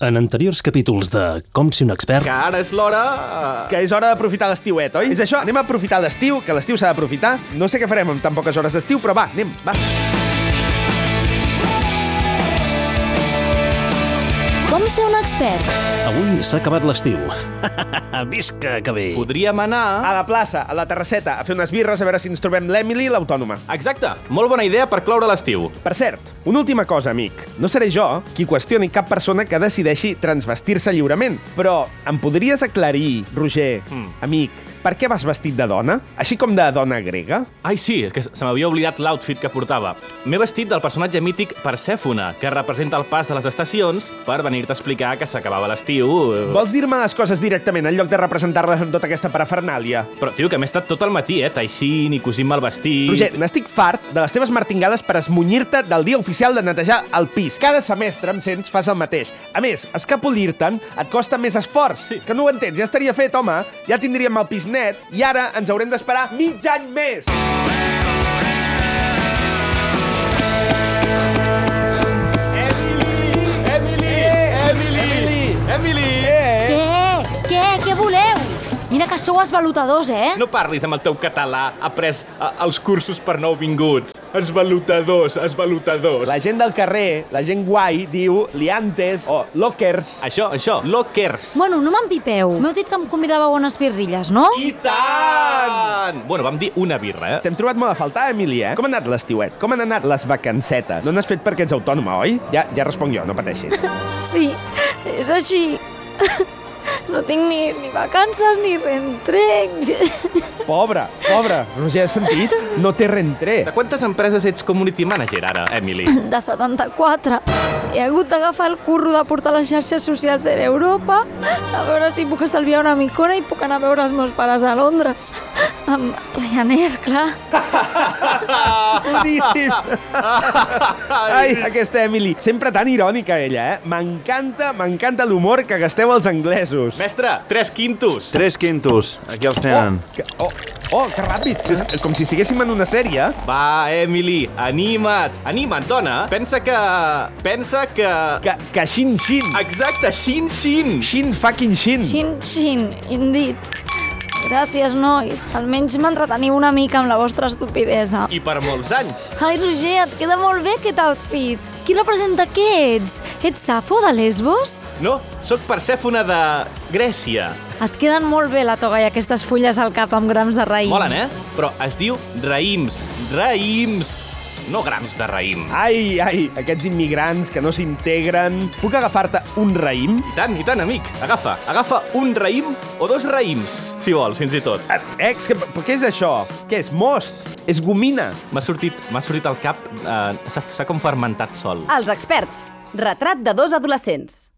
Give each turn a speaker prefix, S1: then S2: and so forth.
S1: En anteriors capítols de Com si un expert...
S2: Que ara és l'hora... eh,
S3: Que és hora d'aprofitar eh, l'estiuet, oi?
S2: És això, anem a aprofitar l'estiu, que l'estiu s'ha d'aprofitar. No sé què farem amb tan poques hores d'estiu, però va, anem, va.
S4: Com ser un expert?
S1: Avui s'ha acabat l'estiu. Visca, que bé!
S3: Podríem anar...
S2: A la plaça, a la terrasseta, a fer unes birres, a veure si ens trobem l'Emily i l'autònoma.
S3: Exacte, molt bona idea per cloure l'estiu.
S2: Per cert, una última cosa, amic. No seré jo qui qüestioni cap persona que decideixi transvestir-se lliurement, però em podries aclarir, Roger,
S3: Hmm.
S2: mm. amic, per què vas vestit de dona? Així com de dona grega?
S3: Ai, sí, és que se m'havia oblidat l'outfit que portava. M'he vestit del personatge mític Persèfona, que representa el pas de les estacions per venir-te a explicar que s'acabava l'estiu...
S2: Vols dir-me les coses directament en lloc de representar-les amb tota aquesta parafernàlia?
S3: Però, tio, que m'he estat tot el matí, eh, teixint i cosint-me el vestit...
S2: Roger, n'estic fart de les teves martingades per esmunyir-te del dia oficial de netejar el pis. Cada semestre, em sents, fas el mateix. A més, escapolir-te'n et costa més esforç.
S3: Sí.
S2: Que no ho entens, ja estaria fet, home. Ja tindríem el pis net i ara ens haurem d'esperar mig any més.
S3: Emily! Emily! Emily! Emily!
S2: Eh,
S4: Què? Què? Què voleu? Mira que sou esvalutadors, eh?
S3: No parlis amb el teu català après a, els cursos per nouvinguts. Esvalutadors, esvalutadors.
S2: La gent del carrer, la gent guai, diu liantes o lockers.
S3: Això, això, lockers.
S4: Bueno, no m'empipeu. M'heu dit que em convidàveu a unes birrilles, no?
S3: I tant! Bueno, vam dir una birra, eh?
S2: T'hem trobat molt a faltar, Emili, eh? Com ha anat l'estiuet? Com han anat les vacancetes? No n'has fet perquè ets autònoma, oi? Ja, ja responc jo, no pateixis.
S5: Sí, és així. No tinc ni, ni vacances ni reentrec.
S2: Pobre, pobre. Roger, has sentit? No té rentré.
S3: De quantes empreses ets community manager ara, Emily?
S5: De 74. He hagut d'agafar el curro de portar les xarxes socials d'Air Europa, a veure si puc estalviar una micona i puc anar a veure els meus pares a Londres. Amb Ryanair, clar.
S2: Boníssim. Ai, aquesta Emily. Sempre tan irònica, ella, eh? M'encanta, m'encanta l'humor que gasteu els anglesos.
S3: Mestre, tres quintos.
S6: Tres quintos, aquí els tenen.
S2: Que, oh, oh, que ràpid. És com si estiguéssim en una sèrie. eh?
S3: Va, Emily, anima't. Anima't, dona. Pensa que... Pensa que...
S2: Que, que xin, xin.
S3: Exacte, xin, xin.
S2: Xin fucking xin.
S5: Xin, xin, indit. Gràcies, nois. Almenys m'entreteniu una mica amb la vostra estupidesa.
S3: I per molts anys.
S5: Ai, Roger, et queda molt bé aquest outfit. Qui representa què ets? Ets Safo de Lesbos?
S3: No, sóc Persèfona de Grècia.
S5: Et queden molt bé la toga i aquestes fulles al cap amb grams de raïm.
S3: Molen, eh? Però es diu raïms. Raïms. No grams de raïm.
S2: Ai, ai, aquests immigrants que no s'integren. Puc agafar-te un raïm?
S3: I tant, i tant, amic. Agafa, agafa un raïm o dos raïms, si vols, fins i tot.
S2: Eh, Ex, que, però què és això? Què és, most? És gomina?
S3: M'ha sortit, m'ha sortit al cap, eh, s'ha s'ha com fermentat sol.
S7: Els experts. Retrat de dos adolescents.